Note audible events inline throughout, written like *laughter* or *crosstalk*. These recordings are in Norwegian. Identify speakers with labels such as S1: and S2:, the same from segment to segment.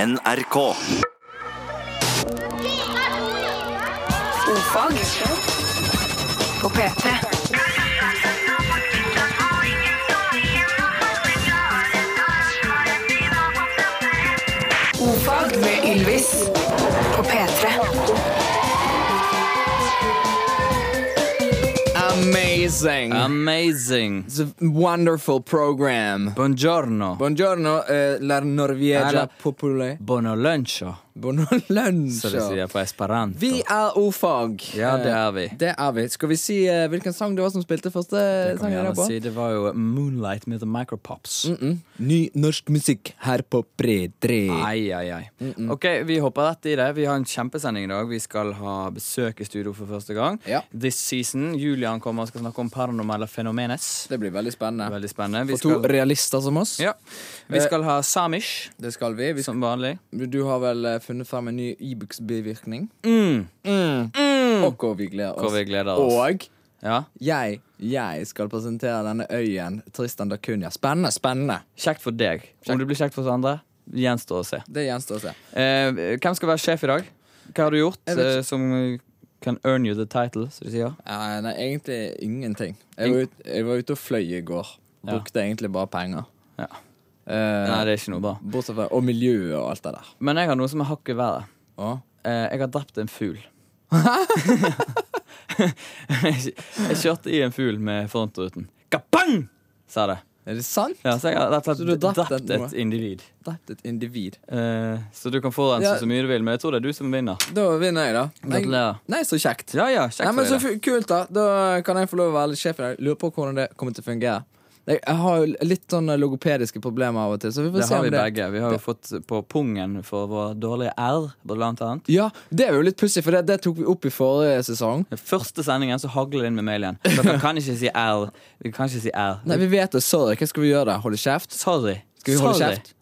S1: NRK.
S2: Ofag på P3. Ofag med Ylvis på P3.
S3: Amazing.
S4: Amazing.
S3: It's a wonderful program.
S4: Buongiorno.
S3: Buongiorno, eh, la Norvegia
S4: Alla-
S3: populær
S4: Bono lunsjo,
S3: Buongiorno lunsj.
S4: som de sier på esperanto.
S3: Vi er ordfag.
S4: Ja, det er vi.
S3: Eh, Det er vi. Skal vi si eh, hvilken sang det var som spilte første
S4: Det kan
S3: sang
S4: vi
S3: her
S4: gjerne
S3: Sånn på?
S4: si. Det var jo Moonlight med The Micropops.
S3: Ny norsk musikk her på P3.
S4: Ai, ai, ai. Ok, Vi hopper rett i det. Vi har en kjempesending i dag. Vi skal ha besøk i studio for første gang.
S3: Ja.
S4: This season. Julian kommer og skal snakke om paranormale fenomenes.
S3: Det blir veldig spennende.
S4: Veldig spennende. Vi
S3: For to
S4: skal,
S3: realister som oss.
S4: ja. vi skal ha samish,
S3: Det skal vi. vi skal,
S4: som vanlig.
S3: du har vel eh, funnet frem en ny Ibux-bivirkning?
S4: Mm.
S3: Og hvor vi gleder
S4: Hvor
S3: oss.
S4: vi gleder oss.
S3: Og
S4: Ja.
S3: jeg, jeg skal presentere denne øyen Tristan da Cunha. Spennende, spennende.
S4: Kjekt for deg. Om det blir kjekt for oss andre, gjenstår å se.
S3: Det gjenstår å se.
S4: Eh, hvem skal være sjef i dag? Hva har du gjort
S3: Jeg vet
S4: eh, som eh, can earn you the title, som de sier?
S3: Eh, nei, egentlig ingenting. Jeg var, ut, jeg var ute og fløy i går.
S4: Ja.
S3: Brukte egentlig bare penger.
S4: Ja.
S3: Eh,
S4: Nei, det er ikke noe bra.
S3: bortsett fra Og miljøet og alt det der.
S4: Men jeg har noe som er hakket verre.
S3: Å?
S4: Eh, jeg har drept en
S3: *laughs*
S4: fugl. jeg kjørte i en fugl med frontruten. Kapang! Sa det.
S3: Er det sant?
S4: Ja, så jeg har rett og
S3: Så du har
S4: slett
S3: drept
S4: drept
S3: noe?
S4: et individ.
S3: Drept et individ.
S4: Eh, så du kan forurense
S3: Ja.
S4: så mye du vil, men jeg tror det er du som vinner.
S3: Da vinner jeg, da. Nei,
S4: Gratulerer.
S3: nei så kjekt.
S4: Ja, ja, kjekt
S3: Nei, men så
S4: for deg.
S3: fu- kult, da. Da kan jeg få lov å være litt sjef i dag. Lurer på hvordan det kommer til å fungere. Jeg jeg har jo litt sånne logopediske problemer av og til, så vi får
S4: Det
S3: se
S4: har
S3: om
S4: vi
S3: det
S4: begge. Vi har jo fått på pungen for vår dårlige R, blant annet.
S3: Ja, det er jo litt pussig, for det, det tok vi opp i forrige sesong.
S4: Den første sendingen så hagler det inn med mail *laughs* igjen. Dere kan ikke si R. Vi kan ikke si R.
S3: Nei, vi vet det. Sorry, hva skal vi gjøre da? Holde kjeft?
S4: Sorry.
S3: Skal vi holde
S4: Sorry.
S3: kjeft?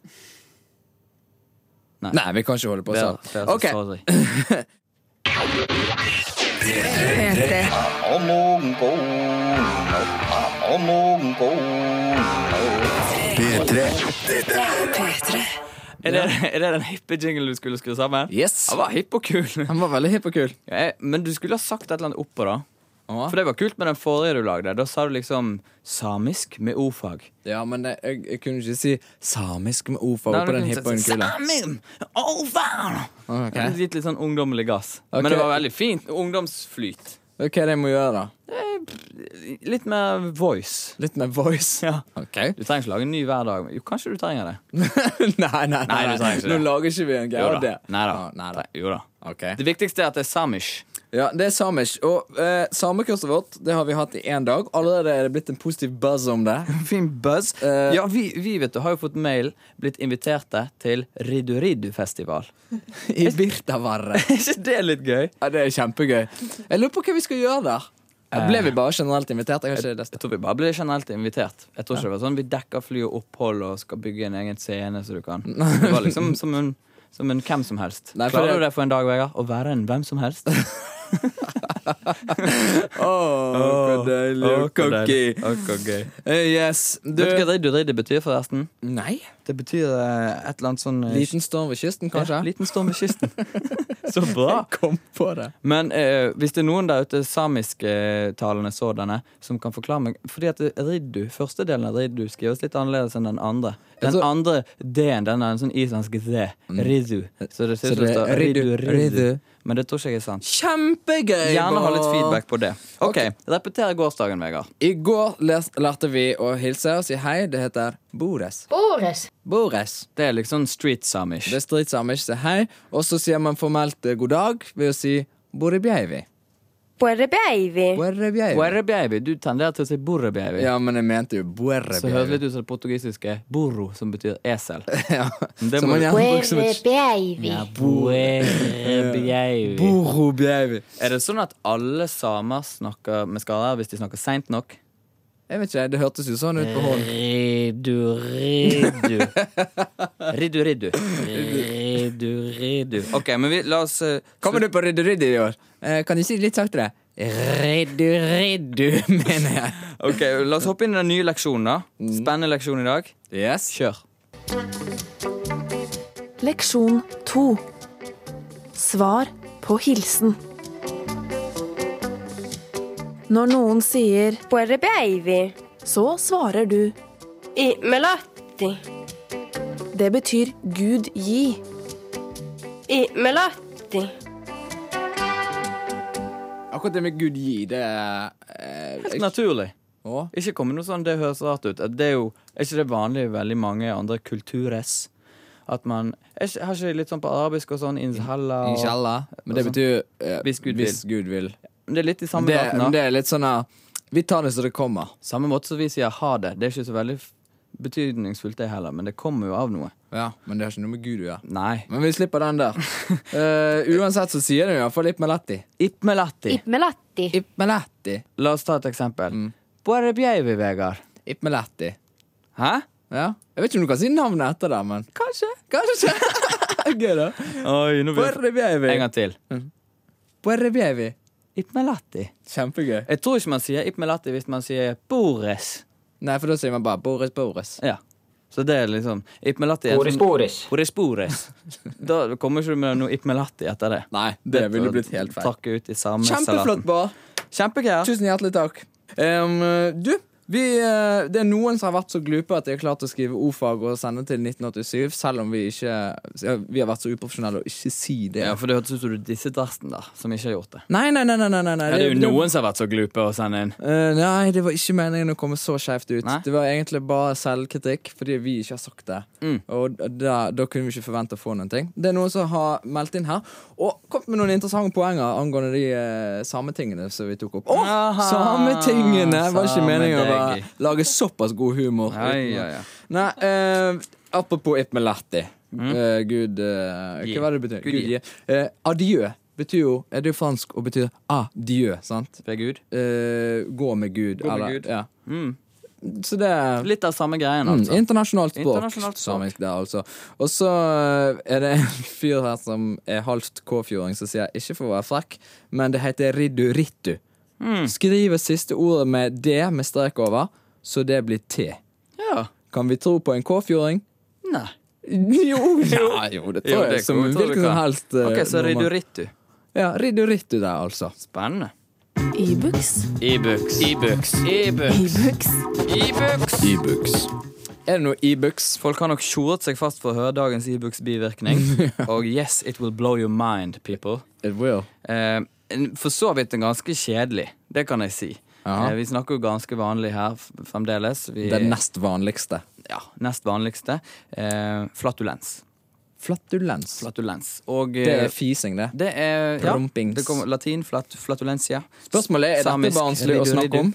S3: Nei, vi kan ikke holde på
S4: Bedre,
S3: sånn.
S4: bedre
S3: Ok,
S4: altså sorry.
S2: P3.
S4: *laughs*
S1: P3.
S2: P3.
S4: Er, det, er det den hippe jinglen du skulle skru sammen?
S3: Yes.
S4: Den var hipp og kul.
S3: Han var veldig hipp og kul.
S4: Ja, jeg- Men du skulle ha sagt et eller annet oppå, da.
S3: Ja.
S4: For det var kult med den forrige du lagde. Da sa du liksom samisk med ordfag.
S3: Ja, men det, jeg, jeg kunne ikke si samisk med ordfag
S4: Nei,
S3: på
S4: du
S3: den
S4: kunne
S3: hippe og den
S4: sagt
S3: kule.
S4: Samin! Ordfag!
S3: Ok.
S4: Det hadde Gitt litt sånn ungdommelig gass.
S3: Ok.
S4: Men det var veldig fint. Ungdomsflyt.
S3: Hva er det jeg må gjøre, da?
S4: Eh, Litt mer voice.
S3: Litt mer voice?
S4: Ja.
S3: *laughs* Ok.
S4: Du trenger ikke lage en ny hver dag. Jo, kanskje du trenger det.
S3: nei, nei,
S4: Nei,
S3: nei.
S4: du trenger ikke
S3: Nå
S4: det.
S3: lager ikke vi en greie
S4: Jo
S3: av det.
S4: da. Nei da.
S3: Ja, nei da.
S4: Jo da.
S3: Ok.
S4: Det viktigste er at det er samish.
S3: Ja, det er samisk. Og eh, samekurset vårt det har vi hatt i én dag. Allerede er det blitt en positiv buzz om
S4: *laughs*
S3: det.
S4: Fin buzz.
S3: Eh,
S4: ja, vi, vi vet du, har jo fått mail, blitt inviterte til Riddu-Riddu-festival.
S3: I Birtavarre.
S4: *laughs* Er ikke det litt gøy?
S3: Ja, det er kjempegøy. Jeg lurer på hva vi skal gjøre der.
S4: Eh.
S3: Ble vi bare generelt invitert? Jeg har ikke
S4: Jeg
S3: lest det.
S4: tror vi bare ble generelt invitert. Jeg tror ikke det var sånn Vi dekker fly og opphold og skal bygge en egen scene så du kan. Det var liksom som en, som en hvem som helst.
S3: Nei, for
S4: Klarer
S3: det-
S4: du det for en dag, Vegard? Å være en hvem som helst?
S3: Åh,
S4: Å, hvor deilig. Å, hvor gøy.
S3: Eh, yes. Du
S4: Vet du hva Riddu-Riddu betyr, forresten?
S3: Nei.
S4: Det betyr eh, et eller annet sånn eh,
S3: Liten storm ved kysten, kanskje?
S4: Ja, liten storm ved kysten. så bra.
S3: Kom på det.
S4: Men eh, hvis det er noen der ute, samisktalende sådanne, som kan forklare meg Fordi at riddu, første delen av riddu skrives litt annerledes enn den andre. Den
S3: Altså-
S4: andre d-en, den er en sånn islandsk d. Riddu. Så det
S3: Så
S4: ser ut som
S3: det er
S4: det står riddu,
S3: riddu,
S4: riddu.
S3: riddu.
S4: Men det tror ikke jeg er sant.
S3: Kjempegøy!
S4: Gjerne ha litt
S3: Bård.
S4: feedback på det. OK, repeter gårsdagen, Vegard.
S3: I går les, lærte vi å hilse og si hei. Det heter Bores.
S5: Boris.
S3: Bores.
S4: Det er liksom street samish.
S3: Det er stridsamish. Si hei. Og så sier man formelt eh, god dag ved å si Borebjeivi.
S6: Puerre baby.
S3: Borebjeivi.
S4: Borrebjeivi. Du tenderer til å si borrebjeivi.
S3: Ja, men jeg mente jo
S4: Så høres
S3: Borebjeivi.
S4: litt ut som det portugisiske burro, som betyr esel.
S3: *laughs* Ja.
S4: Det
S3: Som
S4: må
S3: man
S4: du-
S3: gjerne bruker som et
S5: baby.
S4: Ja, borrebjeivi.
S3: Borobjeivi.
S4: Er det sånn at alle samer snakker med skader hvis de snakker seint nok?
S3: Jeg vet ikke, det hørtes jo sånn ut på hånden.
S4: Riddu, riddu. Riddu, riddu. Riddu, riddu. Ok, men vi, la oss eh,
S3: Kommer du på Rydde Rydde i år? Eh, kan du si det litt saktere? *laughs* Rydde Rydde, mener jeg.
S4: Ok, La oss hoppe inn i den nye leksjonen. da Spennende leksjon i dag.
S3: Yes.
S4: Kjør.
S1: Leksjon 2. Svar på hilsen. Når noen sier
S6: Puerre baby.
S1: så, svarer du.
S6: I melatti.
S1: Det betyr Gud gi.
S6: I melatti.
S3: Akkurat det med Gud gi, det er eh,
S4: Helt
S3: jeg-
S4: naturlig.
S3: Å,
S4: Ikke komme noe sånn, det høres rart ut. Det er jo er ikke det vanlig i veldig mange andre kultures. At man er ikke, Har ikke litt sånn på arabisk og sånn inshallah og,
S3: Inshallah. Men det
S4: Altså,
S3: betyr eh,
S4: hvis Gud vil.
S3: hvis Gud vil.
S4: Det er litt i samme
S3: Det,
S4: gaten,
S3: men
S4: da.
S3: det er litt sånn eh, Vi tar det som det kommer.
S4: Samme måte som vi sier ha det. Det er ikke så veldig f- betydningsfullt, det heller, men det kommer jo av noe.
S3: Ja, Men det har ikke noe med Gud å gjøre.
S4: Nei.
S3: Men vi slipper den der. *laughs* Eh, uansett så sier det jo iallfall Ipmeletti.
S4: Ipmelatti.
S6: melatti.
S3: Ipmeletti.
S4: La oss ta et eksempel.
S3: Mm.
S4: Bare bjeivi, Vegard.
S3: Ipmeletti.
S4: Hæ?
S3: Ja. Jeg vet ikke om du kan si navnet etter det, men kanskje. Kanskje. *laughs* Gøy, da.
S4: Oi, nå
S3: Puerre bievi.
S4: En gang til.
S3: Puerre bievi.
S4: Ipmelatti.
S3: Kjempegøy.
S4: Jeg tror ikke man sier ipmelatti hvis man sier bores.
S3: Nei, for da sier man bare Boris Boris.
S4: Ja. Så det er liksom Ipmelatti er en
S5: Boris,
S4: sånn-
S5: Boris.
S4: Boris Boris. Da kommer ikke du med noe ipmelatti etter det.
S3: Nei, det ville blitt helt feil.
S4: Takke ut i samme
S3: Kjempeflott,
S4: salaten.
S3: Bård.
S4: Kjempegreier.
S3: Tusen hjertelig takk. Em, du, vi, eh, det er noen som har vært så glupe at de har klart å skrive o-fag og sende til 1987, selv om vi ikke ja, Vi har vært så uprofesjonelle å ikke si det.
S4: Ja, for det hørtes ut som du disset resten der, som ikke har gjort det.
S3: Nei, nei, nei. nei, nei, nei, nei.
S4: Ja, Eh, det er jo noen som har vært så glupe å sende inn.
S3: Eh, nei, det var ikke meningen å komme så skjevt ut.
S4: Nei.
S3: Det var egentlig bare selvkritikk, fordi vi ikke har sagt det.
S4: Mm.
S3: Og da, da kunne vi ikke forvente å få noen ting. Det er noen som har meldt inn her, og kommet med noen interessante poenger angående de eh, sametingene som vi tok opp. Åh,
S4: Aha,
S3: sametingene! Var ikke meningen å være-
S4: sameting.
S3: lage såpass god humor.
S4: Ja, ja, ja.
S3: Nei, eh, apropos Ipmeletti. Eh, Gud eh,
S4: Gi.
S3: Hva var det det betyr?
S4: Mm. Gud
S3: Gud,
S4: gi.
S3: gi. Eh, adieu betyr jo Det er jo fransk og betyr adieu, sant?
S4: Ved Gud.
S3: Eh, gå med Gud.
S4: Gå med
S3: eller,
S4: Gud.
S3: Ja.
S4: Mm.
S3: Så det er
S4: Litt av samme greien,
S3: mm,
S4: altså.
S3: internasjonalt språk.
S4: Internasjonalt språk.
S3: samisk der, altså. Og så eh, er det en fyr her som er halvt kåfjording, som sier ikke for å være frekk, men det heter riddurittu.
S4: Mm.
S3: Skriver siste ordet med D med strek over, så det blir T.
S4: Ja.
S3: Kan vi tro på en kåfjording? *laughs*
S4: Nei.
S3: Jo, jo. Ja, jo, det
S4: Jo,
S3: tror jeg.
S4: det
S3: Som
S4: tror jeg
S3: hvilken som
S4: du kan.
S3: helst eh,
S4: Ok, så
S3: nordmann.
S4: Ridurittu.
S3: Ja, riddurittu der, altså.
S4: Spennende.
S1: Ibux.
S4: E-books. E-books.
S1: Ibux.
S3: E-books. Er det noe e-books?
S4: Folk har nok tjoret seg fast for å høre dagens e-books bivirkning. *laughs* Og yes, it will blow your mind, people.
S3: It will.
S4: Eh, en- for så vidt en ganske kjedelig, det kan jeg si.
S3: Ja.
S4: Eh, vi snakker jo ganske vanlig her f- fremdeles. Vi,
S3: Det nest vanligste.
S4: ja, nest vanligste. Eh, flatulens.
S3: Flatulens.
S4: Flatulens. Og
S3: Det
S4: eh,
S3: er fising, det.
S4: Det er ja,
S3: Prompings.
S4: det kommer latin flat, flatulensia.
S3: Spørsmålet er, er dette barnslig å snakke om?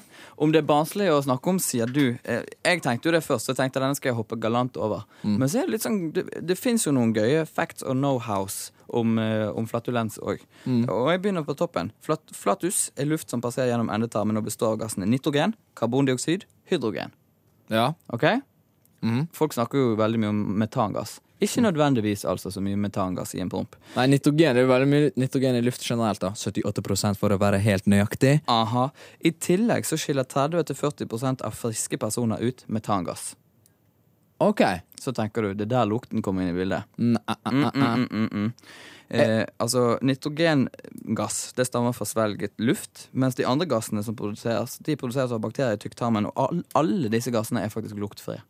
S4: Om det er barnslig å snakke om, sier du. Eh, Jeg tenkte jo det først, så jeg tenkte denne skal jeg hoppe galant over. Men så er det litt sånn, det, det fins jo noen gøye facts og know-hows om, eh, om flatulens òg. Og jeg begynner på toppen. Flat, flatus er luft som passerer gjennom endetarmen og består av gassene nitrogen, karbondioksid, hydrogen.
S3: Ja.
S4: Ok? Folk snakker jo veldig mye om metangass. Ikke nødvendigvis altså så mye metangass i en promp.
S3: Nei, nitrogen det er jo veldig mye nitrogen i luft generelt. da 78 for å være helt nøyaktig.
S4: Aha. I tillegg så skiller 30-40 av friske personer ut metangass.
S3: OK.
S4: Så tenker du, det er der lukten kommer inn i bildet.
S3: Nei, eh, eh, eh.
S4: Mm, mm, mm. Eh, altså, nitrogengass det stammer fra svelget luft, mens de andre gassene som produseres, de produseres av bakterier i tykktarmen, og all, alle disse gassene er faktisk luktfrie.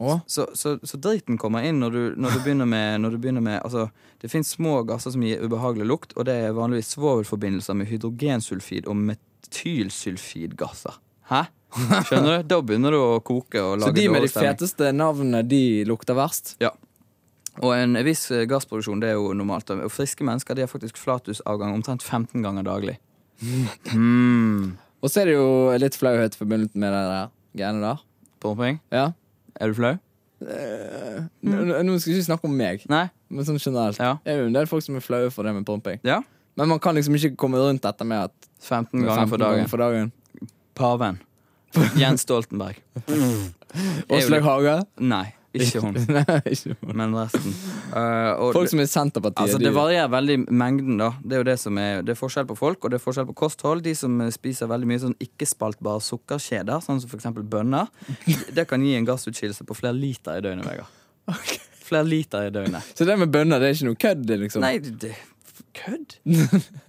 S3: Å?
S4: Så, så, så driten kommer inn når du, når du begynner med, når du begynner med altså, Det fins små gasser som gir ubehagelig lukt, og det er vanligvis svovelforbindelser med hydrogensulfid og metylsulfidgasser. Hæ? Skjønner du? Da begynner du å koke og
S3: Så
S4: lage
S3: de med de
S4: dårlig stemning.
S3: feteste navnene, de lukter verst?
S4: Ja. Og en viss eh, gassproduksjon det er jo normalt. Og friske mennesker de har faktisk flatusavgang omtrent 15 ganger daglig.
S3: Og så er det jo litt flauhet forbundet med det der greiene der.
S4: Pumping?
S3: Ja. Eh,
S4: Er du flau?
S3: Nå, nå- nå skal vi ikke snakke om meg,
S4: Nei?
S3: men sånn generelt.
S4: Ja.
S3: Det er jo en del folk som er flaue for det med pumping.
S4: Ja.
S3: Men man kan liksom ikke komme rundt dette med at
S4: 15 ganger
S3: 15
S4: for dagen.
S3: for dagen.
S4: Paven. *laughs* Jens Stoltenberg.
S3: Åslaug Haga?
S4: Nei, ikke
S3: *laughs*
S4: hun, *laughs*
S3: Nei, ikke hun.
S4: men resten. Eh, og
S3: Folk som er i Senterpartiet.
S4: Altså,
S3: de-
S4: det varierer veldig mengden, da. Det er jo det som er Det er forskjell på folk, og det er forskjell på kosthold. De som eh, spiser veldig mye sånn ikke-spaltbare
S3: *laughs*
S4: sukkerkjeder, sånn som for eksempel bønner, det kan gi en gassutskillelse på flere liter i døgnet, Vegard. flere liter i døgnet.
S3: Så det med bønner det er ikke noe kødd? det, liksom
S4: Nei, det,
S3: *laughs*
S4: kødd!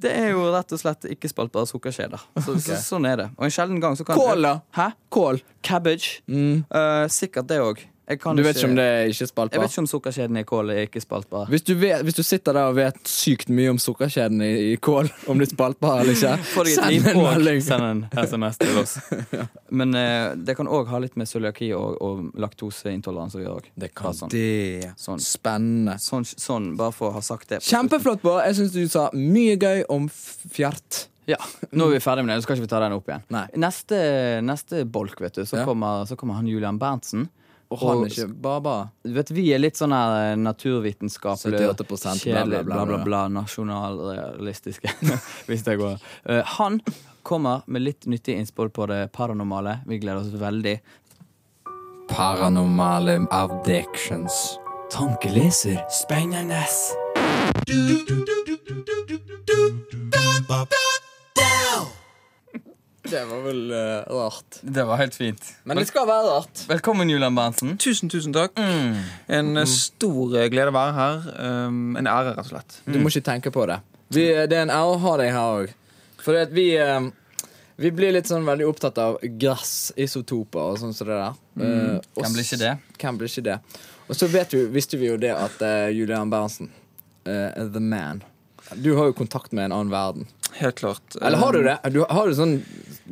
S4: Det er jo rett og slett ikke-spaltbare sukkerskjeder. Så, så, sånn er det. Og en sjelden gang så kan
S3: Kål, da!
S4: Hæ?
S3: Kål.
S4: Cabbage. Eh, sikkert det òg.
S3: Mm. Du vet ikke om det er ikke
S4: Jeg vet
S3: spaltbart?
S4: ikke om sukkerskjeden i kål er
S3: *laughs*
S4: ikke-spaltbar.
S3: Hvis du, vet, hvis du sitter der og vet sykt mye om sukkerkjeden i, i kål, *laughs* om det er spaltbar eller ikke,
S4: Få *laughs* deg et
S3: send
S4: liv
S3: en
S4: og
S3: melding.
S4: send en SMS til
S3: *laughs*
S4: oss. Men eh, det kan òg ha litt med cøliaki og, og laktoseintoleranse å gjøre òg.
S3: Det kan
S4: sånn.
S3: det.
S4: Sånn.
S3: Spennende.
S4: Sånn, sånn, bare for å ha sagt det. på slutten.
S3: Kjempeflott, Bård. Jeg syns du sa mye gøy om f- fjert.
S4: Ja, Nå er vi ferdig med det, så skal ikke vi ta den opp igjen.
S3: Nei.
S4: Neste, neste bolk, vet du, så,
S3: Ja.
S4: kommer, så kommer han Julian Berntsen.
S3: Og han er ikke baba.
S4: Du vet, Vi er litt sånn her eh,
S3: 78%
S4: naturvitenskapelig
S3: bla, bla,
S4: kjedelig,
S3: bla, bla, bla.
S4: nasjonalrealistiske, *laughs* hvis det går. Eh, han kommer med litt nyttig innspill på det paranormale. Vi gleder oss veldig.
S3: Paranormale abdictions.
S4: Tankeleser. Spennende.
S3: Det var vel eh, rart.
S4: Det var helt fint.
S3: Men det skal være rart.
S4: Velkommen, Julian Berntsen.
S5: Tusen, tusen takk. En eh, stor eh, glede å være her. Um, en ære, rett og slett.
S3: Du
S4: Mm.
S3: må ikke tenke på det. Vi, det er en ære å ha deg her òg. For det at vi, eh, vi blir litt sånn veldig opptatt av gress, isotoper og sånn som det der. Eh, og
S4: Mm. Hvem blir ikke
S3: s-
S4: det?
S3: Hvem blir ikke det? Og så vet vi, visste vi jo det at eh, Julian Berntsen, eh, the man Du har jo kontakt med en annen verden.
S5: Helt klart.
S3: Eller har du det? Du, har du sånn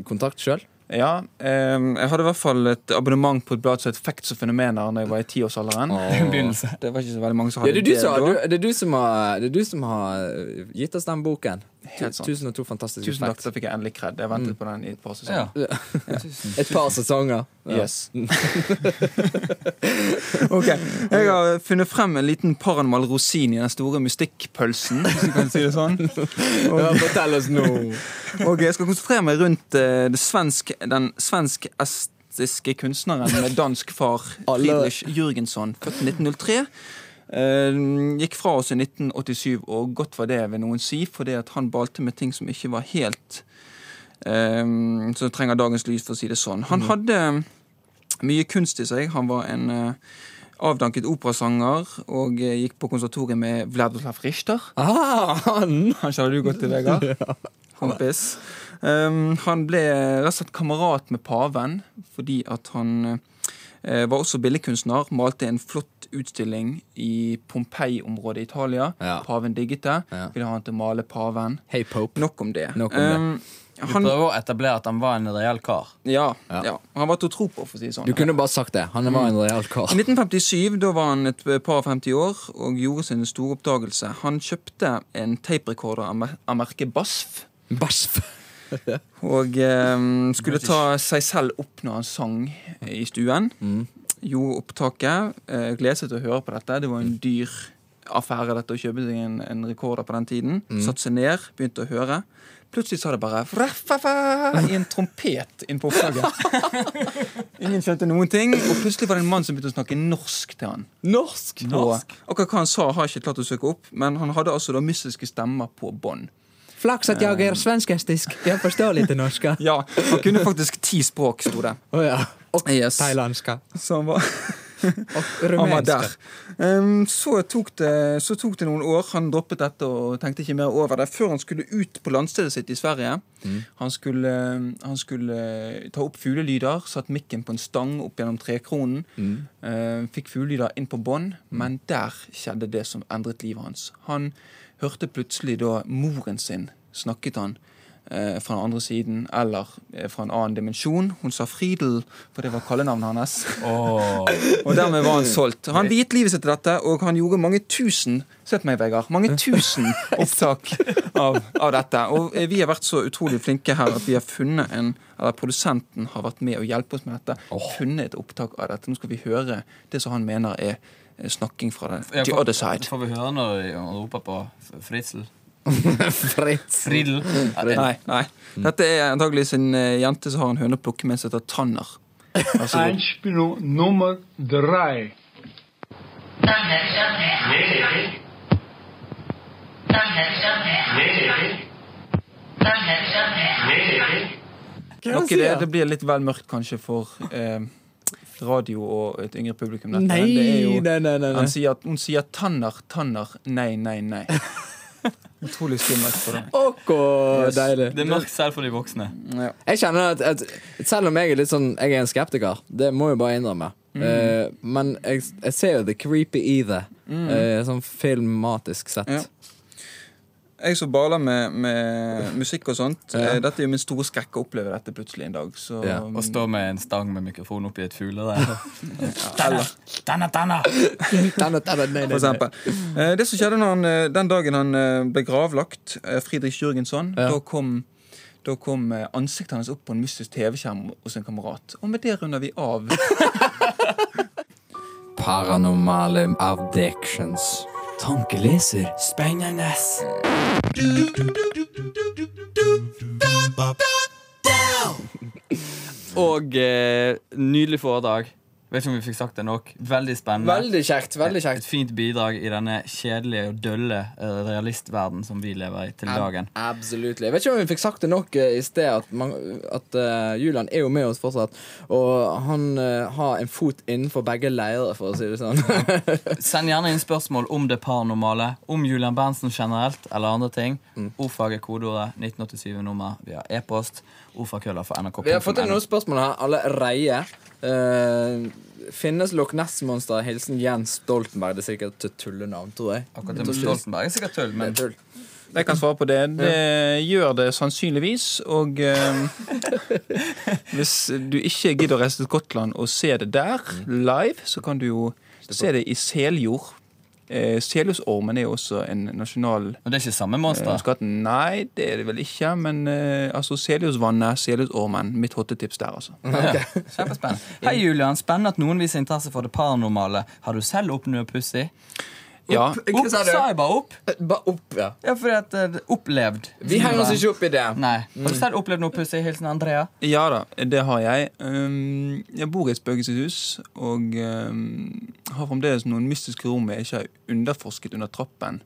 S3: kontakt sjøl?
S5: Ja. Um, jeg hadde i hvert fall et abonnement på et blad som het Facts og Fenomener da jeg var i tiårsalderen.
S4: Begynnelse.
S5: Det var ikke så veldig mange som
S3: Ja,
S5: hadde
S3: det, er du som,
S5: da.
S3: du, det, er du som har, det er du som har øh, gitt oss den boken.
S5: Helt sant.
S3: 1002 fantastiske
S5: Tusen takk,
S3: facts.
S5: da fikk jeg endelig kred. Jeg
S3: Mm.
S5: ventet på den i et par
S4: Ja.
S5: sesonger.
S3: Et par sesonger. Ja.
S5: Yes. *laughs* ok, Jeg har funnet frem en liten paranormal rosin i den store mystikkpølsen. Hvis du kan si det sånn
S3: Ja, fortell oss nå.
S5: Og jeg skal konsentrere meg rundt eh, det svensk, den svensk-estiske kunstneren med dansk far,
S3: Alle-
S5: Friedrich Jürgensson, født i 1903. Eh, gikk fra oss i 1987, og godt var det, vil noen si, fordi at han balte med ting som ikke var helt eh, Som trenger dagens lys, for å si det sånn. Han hadde mye kunst i seg. Han var en eh, avdanket operasanger og eh, gikk på konservatoriet med Vladislav Richter.
S3: *laughs* Ah, han!
S5: Han kjenner du godt
S3: *laughs*
S5: til, Vegard. Kompis. Um, han ble rett og slett kamerat med paven fordi at han eh, var også billedkunstner. Malte en flott utstilling i Pompeii-området i Italia.
S3: Ja.
S5: Paven digget det.
S3: Ja.
S5: Ville ha han til å male paven.
S3: Hei, Pope.
S5: Nok om det.
S3: Nok om det.
S5: Um,
S4: Vi
S5: han,
S4: prøver å etablere at han var en reell kar.
S5: ja,
S3: Ja.
S5: ja. Han var til å tro på, for å si det sånn.
S3: Du kunne bare sagt det. Han var en real kar. *laughs*
S5: I 1957, da var han et par og 50 år og gjorde sin store oppdagelse. Han kjøpte en taperekorder av mer- av merket Basf.
S3: Basf.
S5: Og eh, skulle ta seg selv opp når han sang i stuen. Gjorde opptaket. Eh, gledet seg til å høre på dette. Det var en dyr affære dette å kjøpe seg en, en rekorder på den tiden. Satte seg ned, begynte å høre. Plutselig sa det bare «Raffafa» i en trompet inn på *laughs* opptaket. Ingen skjønte noen ting. Og plutselig var det en mann som begynte å snakke norsk til han.
S3: Norsk.
S5: Og akkurat hva han sa, har jeg ikke klart å søke opp, men han hadde altså da mystiske stemmer på bånd.
S3: Flaks at
S5: Eh.
S3: jeg er svenskestisk. Jeg forstår litt norsk.
S5: *laughs*
S3: Å
S5: Ja, han kunne faktisk ti språk, sto det.
S3: ja. Og
S5: Yes.
S3: thailandsk.
S5: *laughs* Så han var,
S3: Og
S5: han var der.
S3: rumensk.
S5: Ehm, så, tok det, så tok det noen år. Han droppet dette og tenkte ikke mer over det før han skulle ut på landstedet sitt i Sverige. Han, skulle, han skulle eh, ta opp fuglelyder, satt mikken på en stang opp gjennom trekronen. Ehm, fikk fuglelyder inn på bånd, men der skjedde det som endret livet hans. Han hørte plutselig da moren sin snakket han. eh, Fra den andre siden, eller eh, fra en annen dimensjon. Hun sa Fridel, for det var kallenavnet hans. *laughs* Og dermed var han solgt. Han viet livet sitt til dette, og han gjorde mange tusen Sett meg, Vegard. Mange tusen opptak av, av dette. Og eh, vi har vært så utrolig flinke her at vi har funnet en Eller produsenten har vært med å hjelpe oss med dette. Funnet et opptak av dette. Nå skal vi høre det som han mener er eh, snakking fra det. The other side.
S4: Får vi høre når han roper på
S3: *laughs*
S4: Fritzel?
S3: Fritz.
S4: Fridel?
S5: Nei, nei. Dette er antageligvis en eh, jente som har en høne å plukke med som heter Tanner.
S7: Einspielung Nummer 3.
S5: Nok i det, det blir litt vel mørkt kanskje for eh, radio og et yngre publikum. dette,
S3: Nei,
S5: men det er jo-
S3: nei, nei, nei,
S5: Han
S3: nei.
S5: sier, hun sier 'tanner, tanner, nei,
S3: *laughs*
S5: nei, nei'. Utrolig skummelt for det.
S3: Åkå, deilig.
S4: Det er mørkt selv for de voksne.
S3: Jeg kjenner at, at selv om jeg er litt sånn Jeg er en skeptiker, det må jeg bare innrømme.
S5: Mm.
S3: Eh, men jeg, jeg ser jo the creepy i det, eh, sånn filmatisk sett.
S5: Mm. Ja. Jeg som baler med, med musikk og sånt,
S3: Ja.
S5: eh, dette er jo min store skrekk å oppleve dette plutselig en dag. Så mm,
S3: Ja,
S4: Å stå med en stang med mikrofon oppi et fuglereir.
S3: *laughs* Denne- denne- nei, nei,
S5: for
S3: nei.
S5: eksempel. Eh, Det som skjedde når han, eh, den dagen han eh, ble gravlagt, eh, Friedrich Jürgensson,
S3: Ja.
S5: da kom, da kom eh, ansiktet hans opp på en mystisk TV-skjerm hos en kamerat. Og med det runder vi av.
S3: Paranormale addictions. Tankeleser. Spennende.
S4: Og eh, nydelig foredrag. Vet ikke om vi fikk sagt det nok. Veldig spennende.
S3: Veldig kjekt. veldig
S4: Et fint bidrag i denne kjedelige og dølle eh, realistverden som vi lever i til dagen.
S3: Absolutt. Jeg vet ikke om vi fikk sagt det nok eh, i sted, at, man, at eh, Julian er jo med oss fortsatt. Og han eh, har en fot innenfor begge leirer, for å si det sånn.
S4: Send gjerne inn spørsmål om det paranormale, om Julian Berntsen generelt, eller andre ting.
S3: Mm.
S4: Ordfag er kodeordet 1987-nummer via e-post. Ordfagkøller for NRK.
S3: *laughs* Vi har fått inn noen spørsmål her allerede. Eh, finnes Loch Ness-monsteret? Hilsen Jens Stoltenberg. Det er sikkert et tullenavn, tror jeg.
S4: Akkurat det med Stoltenberg er sikkert tull, men
S3: Tull.
S5: Jeg kan svare på det. Det gjør det sannsynligvis. Og eh, hvis du ikke gidder å reise til Skottland og se det der live, så kan du jo se det i seljord. Eh, Selhusormen er jo også en nasjonal
S4: Og det er ikke samme
S5: eh,
S4: monster.
S5: skatt. Nei, det er det vel ikke, men eh, altså Seljordsvannet, Selhusormen. Mitt hottetips der, altså.
S4: *laughs* Mm. Ja, Kjempespennende. Hei, Julian. Spennende at noen viser interesse for det paranormale. Har du selv opplevd pussig?
S5: Ja,
S4: Opp,
S3: sa du?
S4: sa jeg bare opp?
S3: Bare opp, ja.
S4: Ja, fordi at eh, Opplevd.
S3: Vi henger oss ikke opp Mm. i det.
S4: Nei. Har du selv opplevd noe pussig? Hilsen Andrea.
S5: ja da, det har jeg. Um, jeg bor i et spøkelseshus og um, har fremdeles noen mystiske rom jeg ikke har underforsket under trappen.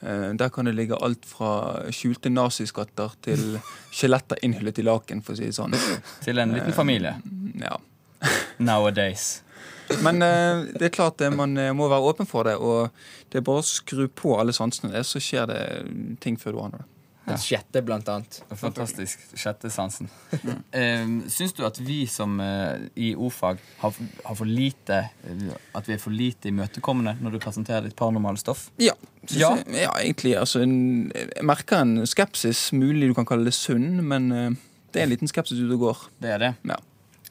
S5: Eh, Der kan det ligge alt fra skjulte naziskatter til skjeletter innhyllet i laken, for å si det sånn.
S4: Til en liten familie.
S5: Ja.
S4: Nowadays.
S5: Men eh, det er klart det, man eh, må være åpen for det, og det er bare å skru på alle sansene, det, så skjer det ting før du aner det.
S3: Den sjette, blant annet.
S4: Fantastisk. Sjette sansen. *laughs* Um, Syns du at vi som eh, i ordfag har, har for lite eh, At vi er for lite imøtekommende når du presenterer ditt paranormale stoff?
S5: Ja, synes
S4: Ja.
S5: Jeg, ja egentlig. Altså, en, jeg merker en skepsis, mulig du kan kalle det sunn, men eh, det er en liten skepsis ute og går.
S4: Det er det.
S5: Ja.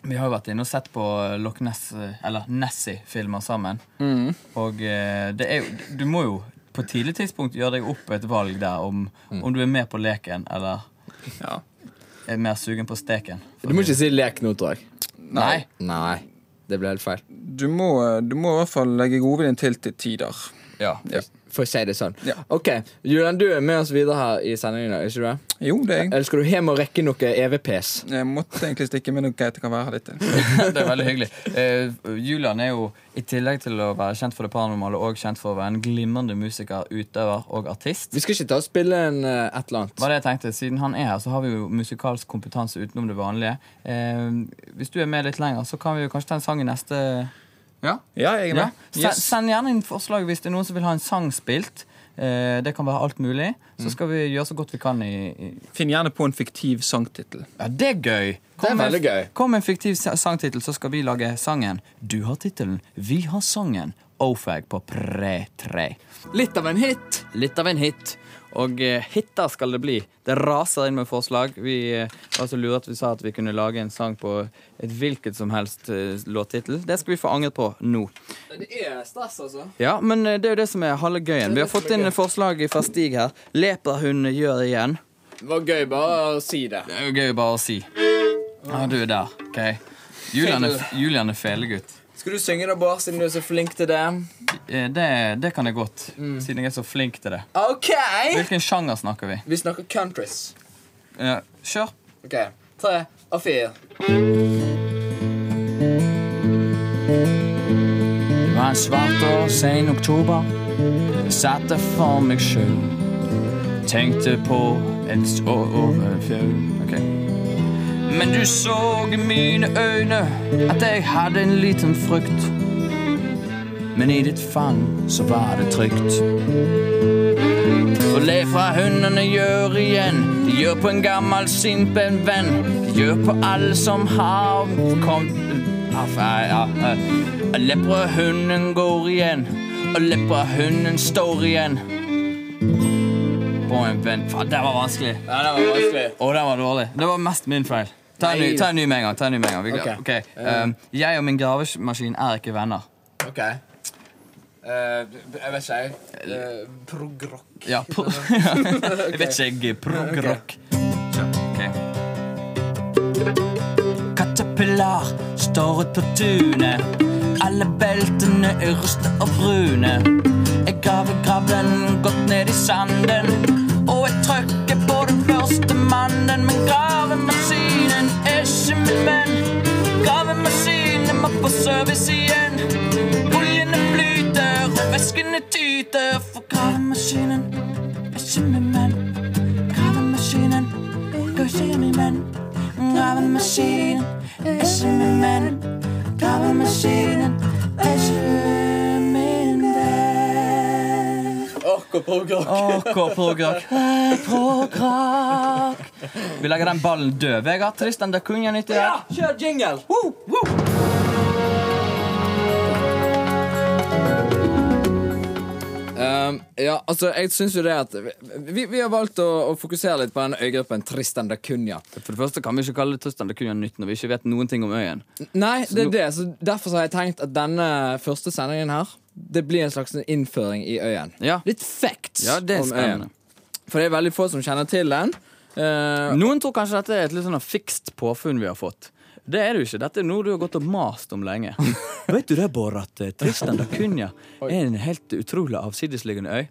S4: Vi har jo vært inne og sett på Loch Ness, eh, eller Nessie-filmer sammen. Og eh, det er jo Du må jo på et tidlig tidspunkt gjøre deg opp et valg der om, om du er med på leken eller
S5: Ja.
S4: er mer sugen på steken.
S3: Du må ikke si lek nå, tror jeg.
S4: Nei.
S3: Nei. Det ble helt feil.
S5: Du, må, eh, du må i hvert fall legge godviljen til til tider.
S4: Ja.
S5: Ja.
S3: For å si det sånn.
S5: Ja.
S3: Ok, Julian, du er med oss videre her i sendingen. i dag, ikke du det?
S5: Jo, det er jeg.
S3: Eller skal du hjem og rekke noe E EVPs?
S5: Jeg måtte egentlig stikke, men det er greit jeg kan være her litt til.
S4: det er veldig hyggelig. Eh, Julian er jo, i tillegg til å være kjent for det paranormale, òg kjent for å være en glimrende musiker, utøver og artist.
S3: Vi skal ikke ta og spille en, eh, et eller annet.
S4: Var det jeg tenkte, Siden han er her, så har vi jo musikalsk kompetanse utenom det vanlige. Eh, hvis du er med litt lenger, så kan vi jo kanskje ta en sang i neste
S5: Ja, ja jeg er
S4: *laughs* ja.
S5: med.
S4: Sen- Send gjerne inn forslag hvis det er noen som vil ha en sang spilt. Eh, det kan være alt mulig. Så skal vi gjøre så godt vi kan i, i
S5: Finn gjerne på en fiktiv sangtittel.
S4: Ja, det er gøy. Kom
S3: veldig
S4: med,
S3: gøy.
S4: Kom med en fiktiv sa- sangtittel, så skal vi lage sangen. Du har tittelen, vi har sangen. Ofag på pre-tre. Litt av en hit. Litt av en hit. Og eh, hitter skal det bli. Det raser inn med forslag. Vi eh, var så lure at vi sa at vi kunne lage en sang på et hvilket som helst eh, låttittel. Det skal vi få angret på nå.
S3: Det er stress, altså.
S4: Ja, men eh, det er jo det som er halve gøyen. Vi har fått inn forslag fra Stig her. Leperhund gjør igjen.
S3: Det var gøy bare å si det.
S4: Det er jo gøy bare å si. Ja, du er der. OK. Julian er, Julian er felegutt.
S3: Skal du synge det, Bård, siden du er så flink til det?
S4: Eh, Det, det kan jeg godt, siden jeg er så flink til det.
S3: OK!
S4: Hvilken sjanger snakker vi?
S3: Vi snakker countries.
S4: Eh, Kjør.
S3: OK. Tre og fire.
S4: Det var en svart og sen oktober. Jeg satt der for meg sjøl. Tenkte på en s- å- å- øh, fjøl. Ok. Men du så i mine øyne at jeg hadde en liten frykt. Men i ditt fang så var det trygt. For le fra hundene gjør igjen. De gjør på en gammel simpen venn. De gjør på alle som har kommet ja, fa- ja, eh. ja. Leprahunden går igjen, og leprahunden står igjen. På en venn. Faen, det var vanskelig. Ja, det var vanskelig. Og den var dårlig. Det var mest min feil. Ta en ny, ta en ny med en gang. Ta en ny med en gang. Vi-
S8: Ok.
S4: ok. Um, jeg og min gravemaskin er ikke venner.
S8: OK. Eh, jeg vet ikke, jeg.
S3: Eh,
S8: Uh, Progrock.
S4: Ja, pro *laughs* Jeg vet ikke, jeg. Prog-rock. Okay. Katapillar står ut på tunet. Alle beltene er rusta og brune. Jeg graver gravlen godt ned i sanden. Og jeg trykker på den første mannen, men gravemaskinen er ikke min venn. Gravemaskinen må på service igjen. Oljene flyter, og væskene tyter, for gravemaskinen er ikke min venn. Gravemaskinen går ikke min venn. Gravemaskinen er ikke min venn. Gravemaskinen er ikke min venn. Åk og
S3: *laughs*
S4: progrock. Eh, Progrock. Vi legger den ballen død. Vegard Tristan da Cunha 91. Ja, kjør jingle! Woo, woo.
S3: Um, ja, altså, jeg syns jo det at Vi, vi har valgt å, å fokusere litt på den øygruppen Tristan da Cunha.
S4: For det første kan vi ikke kalle det Tristan da Cunha 19 når vi ikke vet noen ting om øyen.
S3: Nei, det er det. Så derfor så har jeg tenkt at denne første sendingen her Det blir en slags innføring i øyen.
S4: Ja.
S3: Litt facts
S4: Ja, det er
S3: om
S4: spennende.
S3: øyen. For det er veldig få som kjenner til den. Eh,
S4: Noen tror kanskje dette er et litt sånn fikst påfunn vi har fått. Det er det jo ikke. Dette er noe du har gått og mast om lenge. *laughs* Vet du det, Bård, at eh, Tristan da Cunha er en helt utrolig avsidesliggende øy?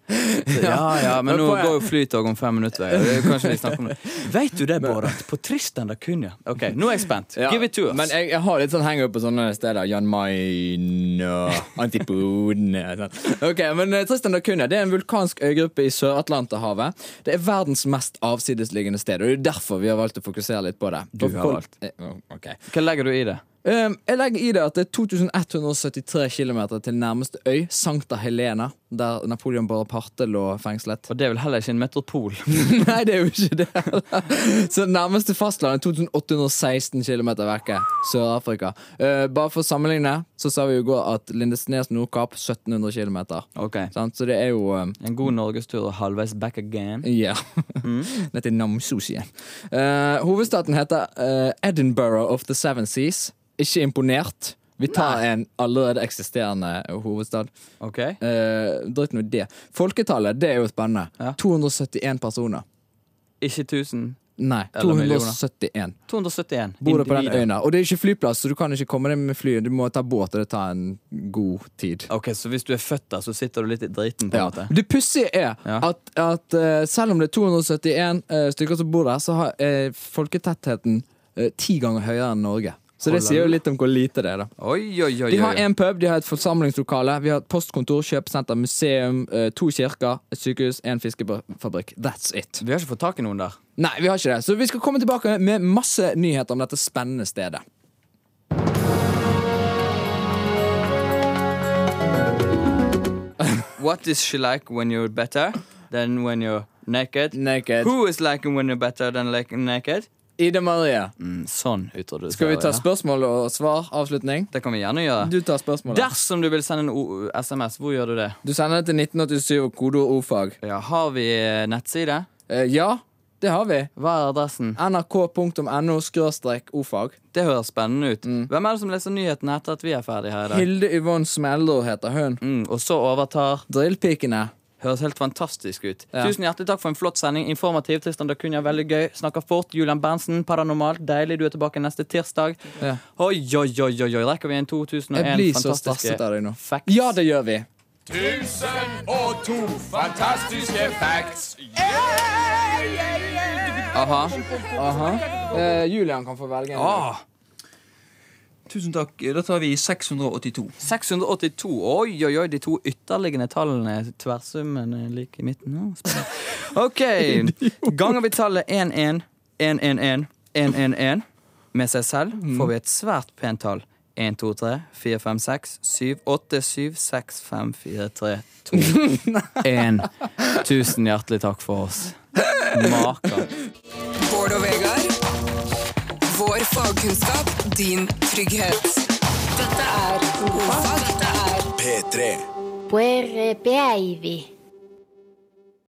S4: Så, *laughs* ja, ja, men nå går jo flytog om fem minutter. og det er Kanskje vi snakker om det. *laughs* Vet du det, Bård, at på Tristan da Cunha Ok, nå er jeg spent.
S3: ja,
S4: Give it to us.
S3: Men jeg, jeg har litt sånn hangup på sånne steder. Jan Mayen og Antipodene. sånn. Ok, men eh, Tristan da Cunha det er en vulkansk øygruppe i Sør-Atlanterhavet. Det er verdens mest avsidesliggende sted, og det er derfor vi har valgt å fokusere litt på det.
S4: Du har
S3: Folk-
S4: valgt.
S3: Eh, ok.
S4: Hva legger du i det?
S3: Um, jeg legger i det at det er 2173 km til nærmeste øy, Sankta Helena, der Napoleon Bonaparte lå fengslet.
S4: Og det er vel heller ikke en metropol.
S3: *laughs* Nei, det er jo ikke det. heller. Så nærmeste fastland er 2816 km vekke. Sør-Afrika. Uh, bare for å sammenligne, så sa vi jo i går at Lindesnes Nordkapp 1700 km.
S4: Ok
S3: Sant? Så det er jo um,
S4: En god norgestur og halvveis back again.
S3: Ja.
S4: Mm.
S3: *laughs* Dette er Namsos igjen. Eh, hovedstaten heter eh, Edinburgh of the Seven Seas. Ikke imponert. Vi tar en allerede eksisterende hovedstad.
S4: Ok?
S3: Eh, Drit nå i det. Folketallet, det er jo spennende.
S4: Ja.
S3: 271 personer.
S4: Ikke 1000.
S3: Nei,
S4: Eller millioner.
S3: 271
S4: 271.
S3: bor det på den
S4: individer.
S3: øyen. der. Og det er ikke flyplass, så du kan ikke komme deg med fly. Du må ta båt, og det tar en god tid.
S4: Ok, Så hvis du er født der, så sitter du litt i driten? på en
S3: Ja.
S4: måte
S3: Det pussige er
S4: Ja.
S3: at, at eh, selv om det er 271 eh, stykker som bor der, så har, er folketettheten eh, ti ganger høyere enn Norge. Så det sier jo litt om hvor lite det er. da
S4: Oi, oi, oi,
S3: De har
S4: oi.
S3: en pub, de har et forsamlingslokale, vi har et postkontor, kjøpesenter, museum, eh, to kirker, et sykehus, en fiskefabrikk. That's it.
S4: Vi har ikke fått tak i noen der.
S3: Nei, vi har ikke det. Så vi skal komme tilbake med masse nyheter om dette spennende stedet.
S4: What is she like when you're better than when you're naked?
S3: Naked.
S4: Who is like when you're better than like naked?
S3: Ida Marie,
S4: Mm, sånn utroduserer
S3: skal vi ta
S4: jeg.
S3: spørsmål og svar? Avslutning?
S4: Det kan vi gjerne gjøre.
S3: Du tar spørsmålet.
S4: Dersom du vil sende en o SMS, hvor gjør du det?
S3: Du sender det til 1987 og kodeord ordfag.
S4: Ja, har vi eh, nettside?
S3: Eh, ja, det har vi.
S4: Hva er adressen?
S3: nrk.no skråstrek ofag.
S4: Det høres spennende ut.
S3: Mm.
S4: Hvem er det som leser nyhetene etter at vi er ferdige her i dag?
S3: Hilde Yvonne Smeldor heter hun.
S4: Mm, og så overtar
S3: Drillpikene.
S4: Høres helt fantastisk ut.
S3: Ja.
S4: Tusen hjertelig takk for en flott sending. Informativ. Tristan Dacunia, veldig gøy. Snakker fort. Julian Berntsen, paranormalt. Deilig. Du er tilbake neste tirsdag.
S3: Ja.
S4: Oi, oi, oi, oi, oi. Rekker vi en 2001
S3: Jeg blir så
S4: fantastiske
S3: stresset av deg nå.
S4: facts?
S3: Ja, det gjør vi.
S4: Aha.
S3: Eh, Julian kan få velge en.
S4: Ah,
S5: Tusen takk. Da tar vi 682.
S4: 682. Oi, oi, oi. De to ytterliggende tallene, tverrsummen, er like i midten. Nå, spennende. OK. Ganger vi tallet 1-1, 1-1-1, 1-1-1, 1-1-1, med seg selv får vi et svært pent tall. 1, 2, 3, 4, 5, 6, 7, 8, 7, 6, 5, 4, 3, 2, 1. Tusen hjertelig takk for oss. Maker.
S2: Bård og Vegard. Vår fagkunnskap, din trygghet. Dette er Godfag. Dette er
S9: Where baby.